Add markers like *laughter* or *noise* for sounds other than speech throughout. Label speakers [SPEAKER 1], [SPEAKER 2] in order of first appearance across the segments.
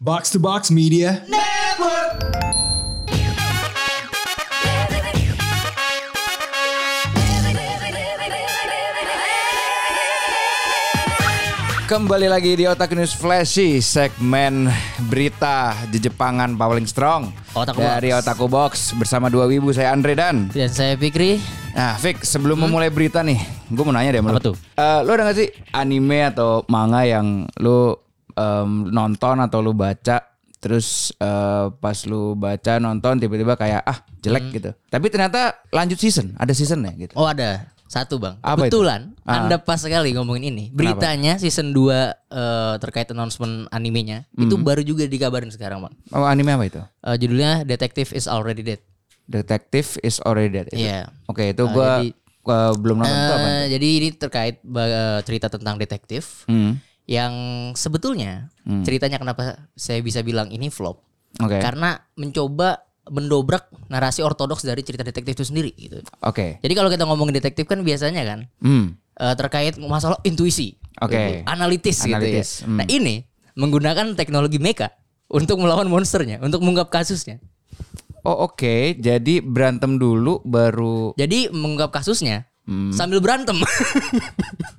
[SPEAKER 1] Box to Box Media.
[SPEAKER 2] Kembali lagi di Otak News Flashy segmen berita Jejepangan paling strong
[SPEAKER 3] Otaku
[SPEAKER 2] dari
[SPEAKER 3] Box.
[SPEAKER 2] Otaku Box bersama dua wibu saya Andre dan
[SPEAKER 3] Dan saya Fikri
[SPEAKER 2] Nah, Fik, sebelum memulai berita nih, gue mau nanya deh sama
[SPEAKER 3] Hmm? Apa
[SPEAKER 2] lu.
[SPEAKER 3] tuh?
[SPEAKER 2] Eh, lu ada gak sih anime atau manga yang lu em, nonton atau lu baca terus eh, pas lu baca nonton tiba-tiba kayak ah jelek
[SPEAKER 3] Hmm.
[SPEAKER 2] gitu. Tapi ternyata lanjut season, ada seasonnya gitu.
[SPEAKER 3] Oh ada Satu bang
[SPEAKER 2] Apa itu?
[SPEAKER 3] Kebetulan
[SPEAKER 2] Ah.
[SPEAKER 3] Anda pas sekali ngomongin ini Beritanya season 2 eh, Terkait announcement animenya
[SPEAKER 2] Hmm.
[SPEAKER 3] Itu baru juga dikabarin sekarang bang
[SPEAKER 2] Oh, anime apa itu?
[SPEAKER 3] Eh, Judulnya Detective is already dead
[SPEAKER 2] Detective is already dead. itu?
[SPEAKER 3] Iya.
[SPEAKER 2] Oke, itu
[SPEAKER 3] Ah,
[SPEAKER 2] gue
[SPEAKER 3] jadi-
[SPEAKER 2] belum nonton itu apa?
[SPEAKER 3] Eh, Jadi ini terkait ba- eh, Cerita tentang detektif
[SPEAKER 2] Hmm.
[SPEAKER 3] Yang sebetulnya Ceritanya kenapa saya bisa bilang ini flop
[SPEAKER 2] Oke.
[SPEAKER 3] Karena mencoba mendobrak narasi ortodoks dari cerita detektif itu sendiri gitu.
[SPEAKER 2] Oke.
[SPEAKER 3] Jadi kalau kita ngomongin detektif kan biasanya kan
[SPEAKER 2] Hmm.
[SPEAKER 3] eh, terkait masalah intuisi,
[SPEAKER 2] Oke. Analitis,
[SPEAKER 3] analitis, gitu ya.
[SPEAKER 2] hmm.
[SPEAKER 3] Nah ini menggunakan teknologi mecha untuk melawan monsternya, untuk mengungkap kasusnya.
[SPEAKER 2] Oh oke, jadi berantem dulu baru
[SPEAKER 3] Jadi mengungkap kasusnya
[SPEAKER 2] Hmm.
[SPEAKER 3] sambil berantem.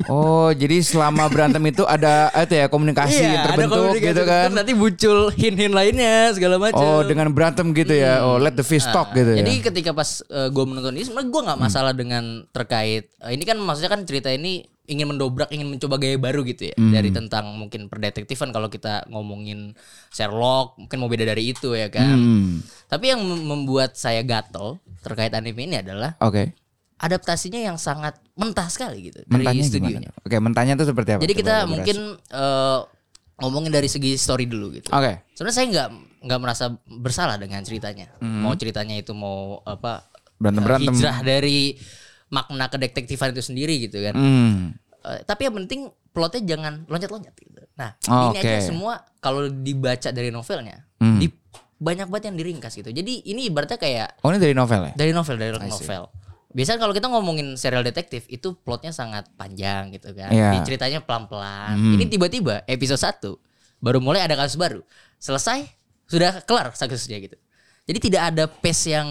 [SPEAKER 2] Oh, jadi selama berantem itu ada itu ya komunikasi
[SPEAKER 3] *laughs*
[SPEAKER 2] yang
[SPEAKER 3] Iya, ada
[SPEAKER 2] terbentuk
[SPEAKER 3] komunikasi
[SPEAKER 2] gitu kan.
[SPEAKER 3] terbentuk, Nanti muncul hin-hin lainnya segala macam.
[SPEAKER 2] Oh, dengan berantem gitu ya. Oh, let the fish talk gitu ya.
[SPEAKER 3] Iya. Ah,
[SPEAKER 2] Hmm.
[SPEAKER 3] Jadi ketika pas gue menonton ini sebenarnya gue nggak masalah dengan terkait eh, ini kan maksudnya kan cerita ini ingin mendobrak, ingin mencoba gaya baru gitu ya
[SPEAKER 2] Hmm.
[SPEAKER 3] dari tentang mungkin perdetektifan kalau kita ngomongin Sherlock mungkin mau beda dari itu ya kan.
[SPEAKER 2] Hmm.
[SPEAKER 3] Tapi yang mem- membuat saya gatel terkait anime ini adalah
[SPEAKER 2] Oke.
[SPEAKER 3] adaptasinya yang sangat mentah sekali gitu dari
[SPEAKER 2] Mentanya
[SPEAKER 3] studionya.
[SPEAKER 2] gimana? Oke, mentanya itu seperti apa?
[SPEAKER 3] Jadi
[SPEAKER 2] Coba
[SPEAKER 3] kita
[SPEAKER 2] elaborasi.
[SPEAKER 3] mungkin eh, ngomongin dari segi story dulu gitu.
[SPEAKER 2] Oke.
[SPEAKER 3] Sebenarnya saya nggak nggak merasa bersalah dengan ceritanya. Mau ceritanya itu mau apa?
[SPEAKER 2] Hmm.
[SPEAKER 3] eh,
[SPEAKER 2] Berantem-berantem.
[SPEAKER 3] Hijrah dari makna kedetektifan itu sendiri gitu kan.
[SPEAKER 2] Hmm.
[SPEAKER 3] Eh, tapi yang penting plotnya jangan loncat-loncat gitu. Nah,
[SPEAKER 2] Oh, oke.
[SPEAKER 3] ini
[SPEAKER 2] Hmm.
[SPEAKER 3] aja semua kalau dibaca dari novelnya, di, banyak banget yang diringkas gitu. Jadi ini ibaratnya kayak
[SPEAKER 2] Oh, ini dari novel ya?
[SPEAKER 3] dari novel, dari novel. Biasanya kalau kita ngomongin serial detektif itu plotnya sangat panjang gitu kan.
[SPEAKER 2] Iya. Hmm.
[SPEAKER 3] Ini Ceritanya pelan-pelan. Ini tiba-tiba episode 1 baru mulai ada kasus baru. Selesai sudah kelar kasusnya gitu. Jadi tidak ada pace yang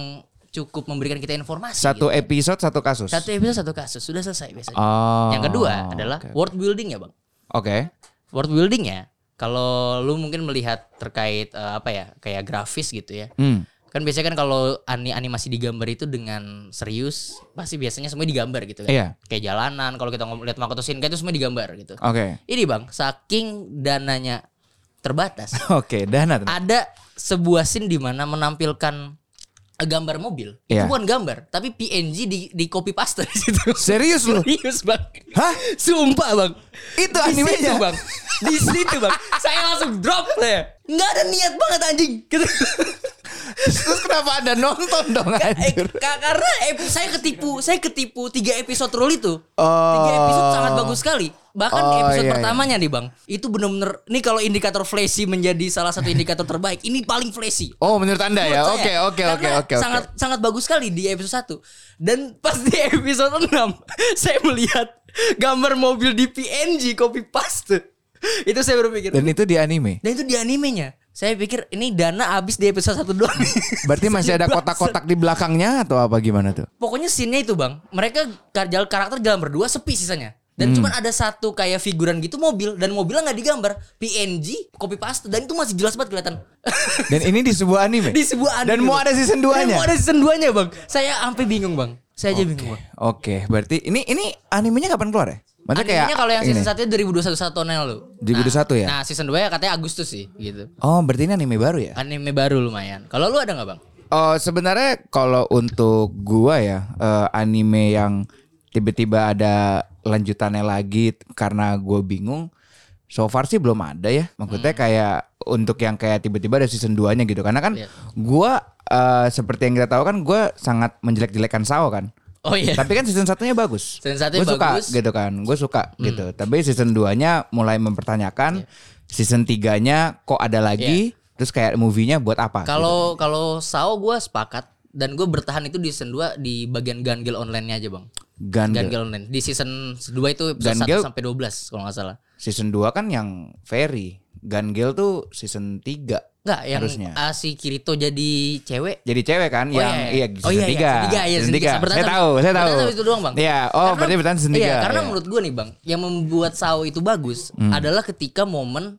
[SPEAKER 3] cukup memberikan kita informasi.
[SPEAKER 2] Satu
[SPEAKER 3] gitu.
[SPEAKER 2] episode satu kasus.
[SPEAKER 3] satu episode satu kasus sudah selesai biasanya.
[SPEAKER 2] Oh.
[SPEAKER 3] yang kedua adalah
[SPEAKER 2] Oke.
[SPEAKER 3] world building ya, Bang
[SPEAKER 2] Oke. *laughs*
[SPEAKER 3] world building ya kalau lu mungkin melihat terkait eh, apa ya kayak grafis gitu ya
[SPEAKER 2] Hmm.
[SPEAKER 3] kan biasanya kan kalau ani animasi digambar itu dengan serius pasti biasanya semua digambar gitu kan
[SPEAKER 2] Iya.
[SPEAKER 3] kayak jalanan kalau kita ngom- lihat Makoto Shinkai itu semua digambar gitu
[SPEAKER 2] Oke.
[SPEAKER 3] ini bang saking dananya
[SPEAKER 2] *laughs*
[SPEAKER 3] terbatas
[SPEAKER 2] Oke, Dana. tuh.
[SPEAKER 3] ada sebuah scene di mana menampilkan gambar mobil itu
[SPEAKER 2] Iya.
[SPEAKER 3] bukan gambar tapi PNG di, di copy paste di situ
[SPEAKER 2] Serius lu?
[SPEAKER 3] serius bang
[SPEAKER 2] Hah?
[SPEAKER 3] Sumpah bang
[SPEAKER 2] Itu
[SPEAKER 3] Di
[SPEAKER 2] animenya?
[SPEAKER 3] situ, bang Di situ bang Saya langsung drop saya Nggak ada niat banget anjing Gitu.
[SPEAKER 2] Terus kenapa Anda nonton dong
[SPEAKER 3] Eh,
[SPEAKER 2] anjir?
[SPEAKER 3] ka- karena ep- saya ketipu saya ketipu tiga episode roll itu
[SPEAKER 2] Oh.
[SPEAKER 3] tiga episode sangat bagus sekali bahkan di
[SPEAKER 2] Oh,
[SPEAKER 3] episode
[SPEAKER 2] iya,
[SPEAKER 3] pertamanya nih bang itu bener-bener ini kalau indikator flashy menjadi salah satu indikator terbaik ini paling flashy
[SPEAKER 2] Oh, menurut Anda ya?
[SPEAKER 3] Menurut
[SPEAKER 2] Oke,
[SPEAKER 3] saya.
[SPEAKER 2] oke, oke,
[SPEAKER 3] Karena
[SPEAKER 2] oke. oke.
[SPEAKER 3] Sangat sangat bagus sekali di episode 1. Dan pas di episode 6 *laughs* saya melihat gambar mobil di PNG copy paste. Itu saya berpikir. Dan,
[SPEAKER 2] Dan itu di anime.
[SPEAKER 3] itu di animenya. Saya pikir ini dana habis di episode 1 doang.
[SPEAKER 2] *laughs* Berarti masih
[SPEAKER 3] *laughs*
[SPEAKER 2] ada kotak-kotak di belakangnya atau apa gimana tuh?
[SPEAKER 3] Pokoknya scene-nya itu, Bang. Mereka kar- jalan karakter jalan berdua sepi sisanya. Dan
[SPEAKER 2] Hmm.
[SPEAKER 3] cuman ada satu kayak figuran gitu mobil dan mobilnya nggak digambar PNG copy paste dan itu masih jelas banget kelihatan. *laughs*
[SPEAKER 2] Dan ini di sebuah anime.
[SPEAKER 3] di sebuah anime.
[SPEAKER 2] Dan mau
[SPEAKER 3] Bang.
[SPEAKER 2] ada season
[SPEAKER 3] Dan
[SPEAKER 2] 2-nya.
[SPEAKER 3] mau ada season 2-nya, Bang. Saya sampai bingung, Bang. Saya aja bingung, Bang.
[SPEAKER 2] Oke, berarti ini ini animenya kapan keluar ya? Maksudnya kayak
[SPEAKER 3] Animenya kalau yang season
[SPEAKER 2] ini.
[SPEAKER 3] 1 2021 tahunnya lalu.
[SPEAKER 2] 2021
[SPEAKER 3] nah,
[SPEAKER 2] ya?
[SPEAKER 3] Nah, season 2 ya katanya Agustus sih, gitu.
[SPEAKER 2] Oh, berarti ini anime baru ya?
[SPEAKER 3] Anime baru lumayan. Kalau lu ada nggak, Bang?
[SPEAKER 2] Oh, sebenarnya kalau untuk gua ya eh, anime yang tiba-tiba ada lanjutannya lagi t- karena gua bingung. So far sih belum ada ya. Maksudnya
[SPEAKER 3] Hmm.
[SPEAKER 2] kayak untuk yang kayak tiba-tiba ada season 2-nya gitu. Karena kan
[SPEAKER 3] Iya.
[SPEAKER 2] gua eh, seperti yang kita tahu kan gua sangat menjelek-jelekan Sao kan.
[SPEAKER 3] Oh iya.
[SPEAKER 2] Tapi kan season satunya bagus.
[SPEAKER 3] Season satunya
[SPEAKER 2] Gua suka,
[SPEAKER 3] bagus. Hmm.
[SPEAKER 2] gitu kan. Gue suka gitu. Tapi season 2-nya mulai mempertanyakan.
[SPEAKER 3] Iya.
[SPEAKER 2] Season 3-nya kok ada lagi? Terus kayak movie-nya buat apa? gitu.
[SPEAKER 3] Kalau kalau Sao gua sepakat dan gue bertahan itu di season 2 di bagian Gangil online-nya aja, Bang.
[SPEAKER 2] gitu. Gundam.
[SPEAKER 3] Gangil online. Di season 2 itu
[SPEAKER 2] Dan
[SPEAKER 3] episode
[SPEAKER 2] Gil-
[SPEAKER 3] 1 sampai 12 kalau nggak salah.
[SPEAKER 2] Season 2 kan yang Ferry. Gun Gale tuh season 3
[SPEAKER 3] Enggak yang
[SPEAKER 2] Harusnya.
[SPEAKER 3] ah, si Kirito jadi cewek.
[SPEAKER 2] jadi cewek kan yang iya,
[SPEAKER 3] Oh, iya,
[SPEAKER 2] season tiga,
[SPEAKER 3] Tiga, iya,
[SPEAKER 2] season tiga.
[SPEAKER 3] Bertahan
[SPEAKER 2] Saya
[SPEAKER 3] sampai-
[SPEAKER 2] tahu, saya
[SPEAKER 3] bertahan
[SPEAKER 2] tahu.
[SPEAKER 3] sampai itu doang, Bang.
[SPEAKER 2] Iya, oh berarti bertahan season
[SPEAKER 3] Iya,
[SPEAKER 2] tiga,
[SPEAKER 3] karena
[SPEAKER 2] iya. Hmm.
[SPEAKER 3] menurut gue nih, Bang, yang membuat Sao itu bagus adalah ketika momen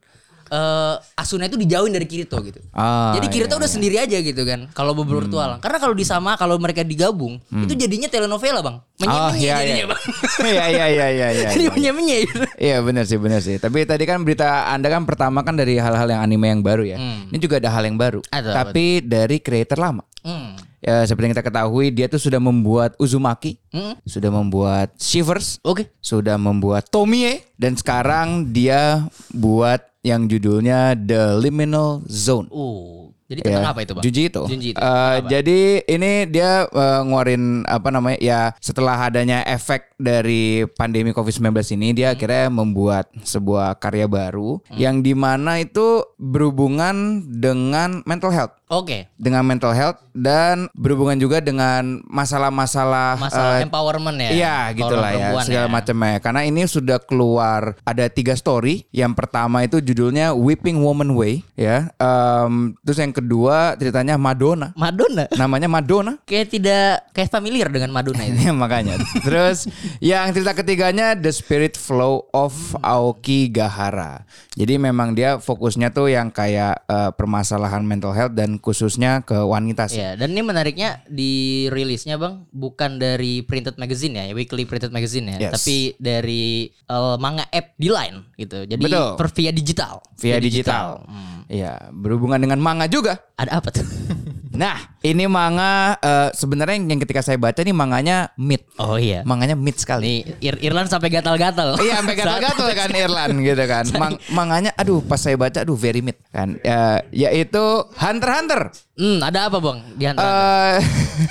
[SPEAKER 3] eh, Asuna itu dijauhin dari Kirito gitu.
[SPEAKER 2] Ah,
[SPEAKER 3] jadi Kirito
[SPEAKER 2] iya, Hmm.
[SPEAKER 3] udah sendiri aja gitu kan kalau berpetualang. Karena kalau disama kalau mereka digabung, itu jadinya telenovela, Bang.
[SPEAKER 2] Oh
[SPEAKER 3] Menye-menye
[SPEAKER 2] Hmm. iya iya.
[SPEAKER 3] jadinya, Bang.
[SPEAKER 2] *laughs*
[SPEAKER 3] *laughs*
[SPEAKER 2] Iya iya iya iya iya.
[SPEAKER 3] Jadi menye-menye gitu.
[SPEAKER 2] Iya benar sih benar sih. Tapi tadi kan berita Anda kan pertama kan dari hal-hal yang anime yang baru ya. Ini juga ada hal yang baru.
[SPEAKER 3] Hmm. Ada apa
[SPEAKER 2] tapi dari creator lama.
[SPEAKER 3] Hmm.
[SPEAKER 2] Ya, seperti yang kita ketahui dia tuh sudah membuat Uzumaki,
[SPEAKER 3] Hmm.
[SPEAKER 2] sudah membuat Shivers,
[SPEAKER 3] Oke.
[SPEAKER 2] sudah membuat Tomie dan sekarang dia buat yang judulnya The Liminal Zone.
[SPEAKER 3] Uh, jadi
[SPEAKER 2] Ya,
[SPEAKER 3] tentang apa itu, Bang?
[SPEAKER 2] Junji itu.
[SPEAKER 3] Junji Ito.
[SPEAKER 2] Eh, jadi ini dia eh, ngeluarin apa namanya ya setelah adanya efek dari pandemi COVID-19 ini dia akhirnya membuat sebuah karya baru yang dimana itu berhubungan dengan mental health
[SPEAKER 3] Oke.
[SPEAKER 2] dengan mental health dan berhubungan juga dengan masalah-masalah
[SPEAKER 3] Masalah
[SPEAKER 2] eh,
[SPEAKER 3] empowerment
[SPEAKER 2] Iya
[SPEAKER 3] ya. Empowerment
[SPEAKER 2] gitulah ya
[SPEAKER 3] perempuan
[SPEAKER 2] segala macamnya karena ini sudah keluar ada tiga story yang pertama itu judulnya Weeping Woman Way ya Em, terus yang kedua ceritanya Madonna
[SPEAKER 3] Madonna.
[SPEAKER 2] namanya Madonna *laughs*
[SPEAKER 3] Kayak tidak kayak familiar dengan Madonna itu.
[SPEAKER 2] Ya, makanya terus yang cerita ketiganya The Spirit Flow of Aoki Gahara jadi memang dia fokusnya tuh yang kayak eh, permasalahan mental health dan khususnya ke wanita sih
[SPEAKER 3] Ya, dan ini menariknya di rilisnya Bang bukan dari printed magazine ya, weekly printed magazine ya,
[SPEAKER 2] Yes.
[SPEAKER 3] tapi dari eh, manga app di line gitu. Jadi
[SPEAKER 2] Betul.
[SPEAKER 3] per via digital.
[SPEAKER 2] via digital,
[SPEAKER 3] Hmm.
[SPEAKER 2] ya berhubungan dengan manga juga
[SPEAKER 3] Ada apa
[SPEAKER 2] *laughs*
[SPEAKER 3] tuh?
[SPEAKER 2] Nah, ini manga eh, sebenarnya yang yang ketika saya baca nih manganya mid.
[SPEAKER 3] oh iya.
[SPEAKER 2] Manganya mid sekali.
[SPEAKER 3] Nih Ir- Irlan sampai gatal-gatal.
[SPEAKER 2] Iya,
[SPEAKER 3] *laughs*
[SPEAKER 2] sampai gatal-gatal *laughs* kan Irlan gitu kan. Mang- manganya aduh pas saya baca aduh very mid kan. Ya, yaitu Hunter x Hunter.
[SPEAKER 3] Hmm, ada apa Bang? Di antara?
[SPEAKER 2] Eh,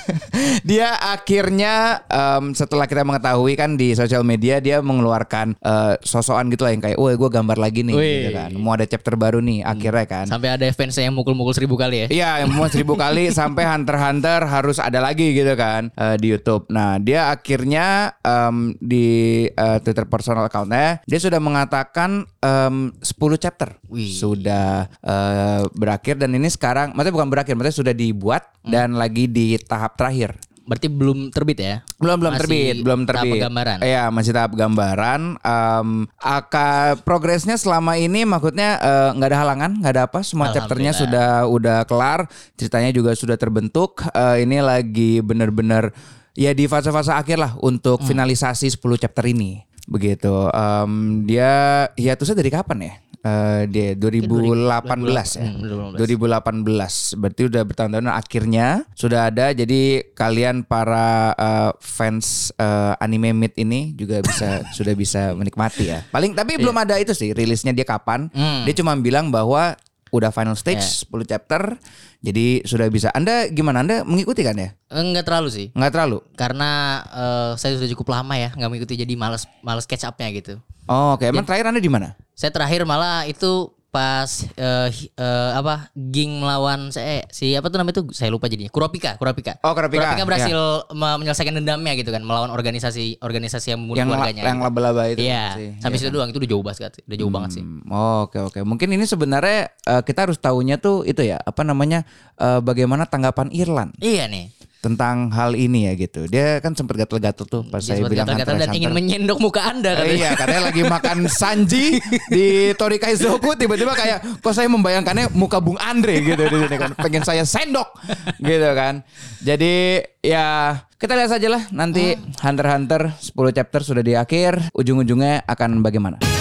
[SPEAKER 2] *laughs* dia akhirnya em, setelah kita mengetahui kan di sosial media dia mengeluarkan eh, sosokan gitu lah yang kayak, "Woi, gue gambar lagi nih." gitu
[SPEAKER 3] Wih.
[SPEAKER 2] kan. Mau ada chapter baru nih akhirnya kan.
[SPEAKER 3] sampai ada fans yang mukul-mukul seribu kali ya.
[SPEAKER 2] Iya, yang mau seribu
[SPEAKER 3] *laughs*
[SPEAKER 2] kali sampai Hunter x Hunter harus ada lagi gitu kan eh, di YouTube. Nah, dia akhirnya em, di eh, Twitter personal accountnya dia sudah mengatakan em, 10 chapter sudah eh, berakhir dan ini sekarang, maksudnya bukan berakhir, maksudnya sudah dibuat
[SPEAKER 3] Hmm.
[SPEAKER 2] dan lagi di tahap terakhir.
[SPEAKER 3] Berarti belum terbit ya?
[SPEAKER 2] Belum belum
[SPEAKER 3] Masih
[SPEAKER 2] terbit, belum
[SPEAKER 3] tahap
[SPEAKER 2] terbit.
[SPEAKER 3] gambaran.
[SPEAKER 2] Iya, masih tahap gambaran. Em aka progresnya selama ini maksudnya eh, nggak ada halangan, nggak ada apa, semua chapternya sudah udah kelar, ceritanya juga sudah terbentuk. Eh, ini lagi bener-bener ya di fase-fase akhir lah untuk
[SPEAKER 3] Hmm.
[SPEAKER 2] finalisasi 10 chapter ini. Begitu. Em dia hiatusnya dari kapan ya? Eh, dia 2018 ya.
[SPEAKER 3] Hmm, 2018.
[SPEAKER 2] 2018 berarti udah bertahun-tahun Nah, akhirnya sudah ada jadi kalian para eh, fans eh, anime meet ini juga
[SPEAKER 3] *laughs*
[SPEAKER 2] bisa sudah bisa menikmati ya paling
[SPEAKER 3] Iya.
[SPEAKER 2] tapi belum ada itu sih rilisnya dia kapan
[SPEAKER 3] Hmm.
[SPEAKER 2] dia cuma bilang bahwa udah final stage 10
[SPEAKER 3] Ya.
[SPEAKER 2] chapter jadi sudah bisa anda gimana anda mengikuti kan ya
[SPEAKER 3] Enggak Eh, terlalu sih.
[SPEAKER 2] nggak terlalu
[SPEAKER 3] Karena eh, saya sudah cukup lama ya nggak mengikuti jadi males males catch up-nya gitu.
[SPEAKER 2] oh, oke emang terakhir anda di mana
[SPEAKER 3] Saya terakhir malah itu pas eh, hi- eh, apa geng melawan saya si apa tuh namanya tuh saya lupa jadinya Kurapika Kurapika
[SPEAKER 2] Oh, Iya. Kurapika,
[SPEAKER 3] berhasil me- menyelesaikan dendamnya gitu kan melawan organisasi organisasi yang membunuh
[SPEAKER 2] yang la-
[SPEAKER 3] keluarganya
[SPEAKER 2] yang
[SPEAKER 3] gitu.
[SPEAKER 2] laba-laba itu
[SPEAKER 3] iya
[SPEAKER 2] sih. kan.
[SPEAKER 3] sampai situ doang itu udah jauh banget udah jauh banget sih
[SPEAKER 2] Hmm, oh, Oke oke. Mungkin ini sebenarnya eh, kita harus tahunya tuh itu ya apa namanya eh, bagaimana tanggapan Irland
[SPEAKER 3] iya nih
[SPEAKER 2] tentang hal ini ya gitu. Dia kan sempat gatel-gatel tuh pas
[SPEAKER 3] dia
[SPEAKER 2] saya
[SPEAKER 3] sempat
[SPEAKER 2] bilang
[SPEAKER 3] Iya, gatal-gatal
[SPEAKER 2] Hunter
[SPEAKER 3] dan
[SPEAKER 2] x
[SPEAKER 3] ingin
[SPEAKER 2] Hunter.
[SPEAKER 3] menyendok muka anda
[SPEAKER 2] Eh,
[SPEAKER 3] katanya
[SPEAKER 2] iya katanya lagi makan Sanji di Torikai Zoku tiba-tiba kayak kok saya membayangkannya muka Bung Andre gitu di sini kan pengen saya sendok gitu kan jadi ya kita
[SPEAKER 3] Hmm.
[SPEAKER 2] lihat saja lah nanti Hunter x Hunter 10 chapter sudah di akhir ujung-ujungnya akan bagaimana